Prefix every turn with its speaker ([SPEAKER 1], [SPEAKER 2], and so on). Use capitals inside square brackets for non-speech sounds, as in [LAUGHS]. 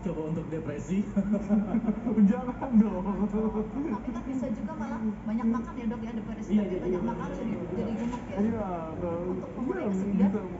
[SPEAKER 1] coba untuk depresi
[SPEAKER 2] [LAUGHS] Jangan dong.
[SPEAKER 3] Tapi kan bisa juga malah banyak makan ya dok ya depresi
[SPEAKER 1] Iya,
[SPEAKER 3] tapi
[SPEAKER 1] iya,
[SPEAKER 3] banyak
[SPEAKER 1] iya.
[SPEAKER 3] makan jadi jadi gemuk ya.
[SPEAKER 2] Iya,
[SPEAKER 3] Untuk
[SPEAKER 2] kalau
[SPEAKER 3] umur yang
[SPEAKER 2] iya,
[SPEAKER 3] kesekian
[SPEAKER 2] bisa, Bu.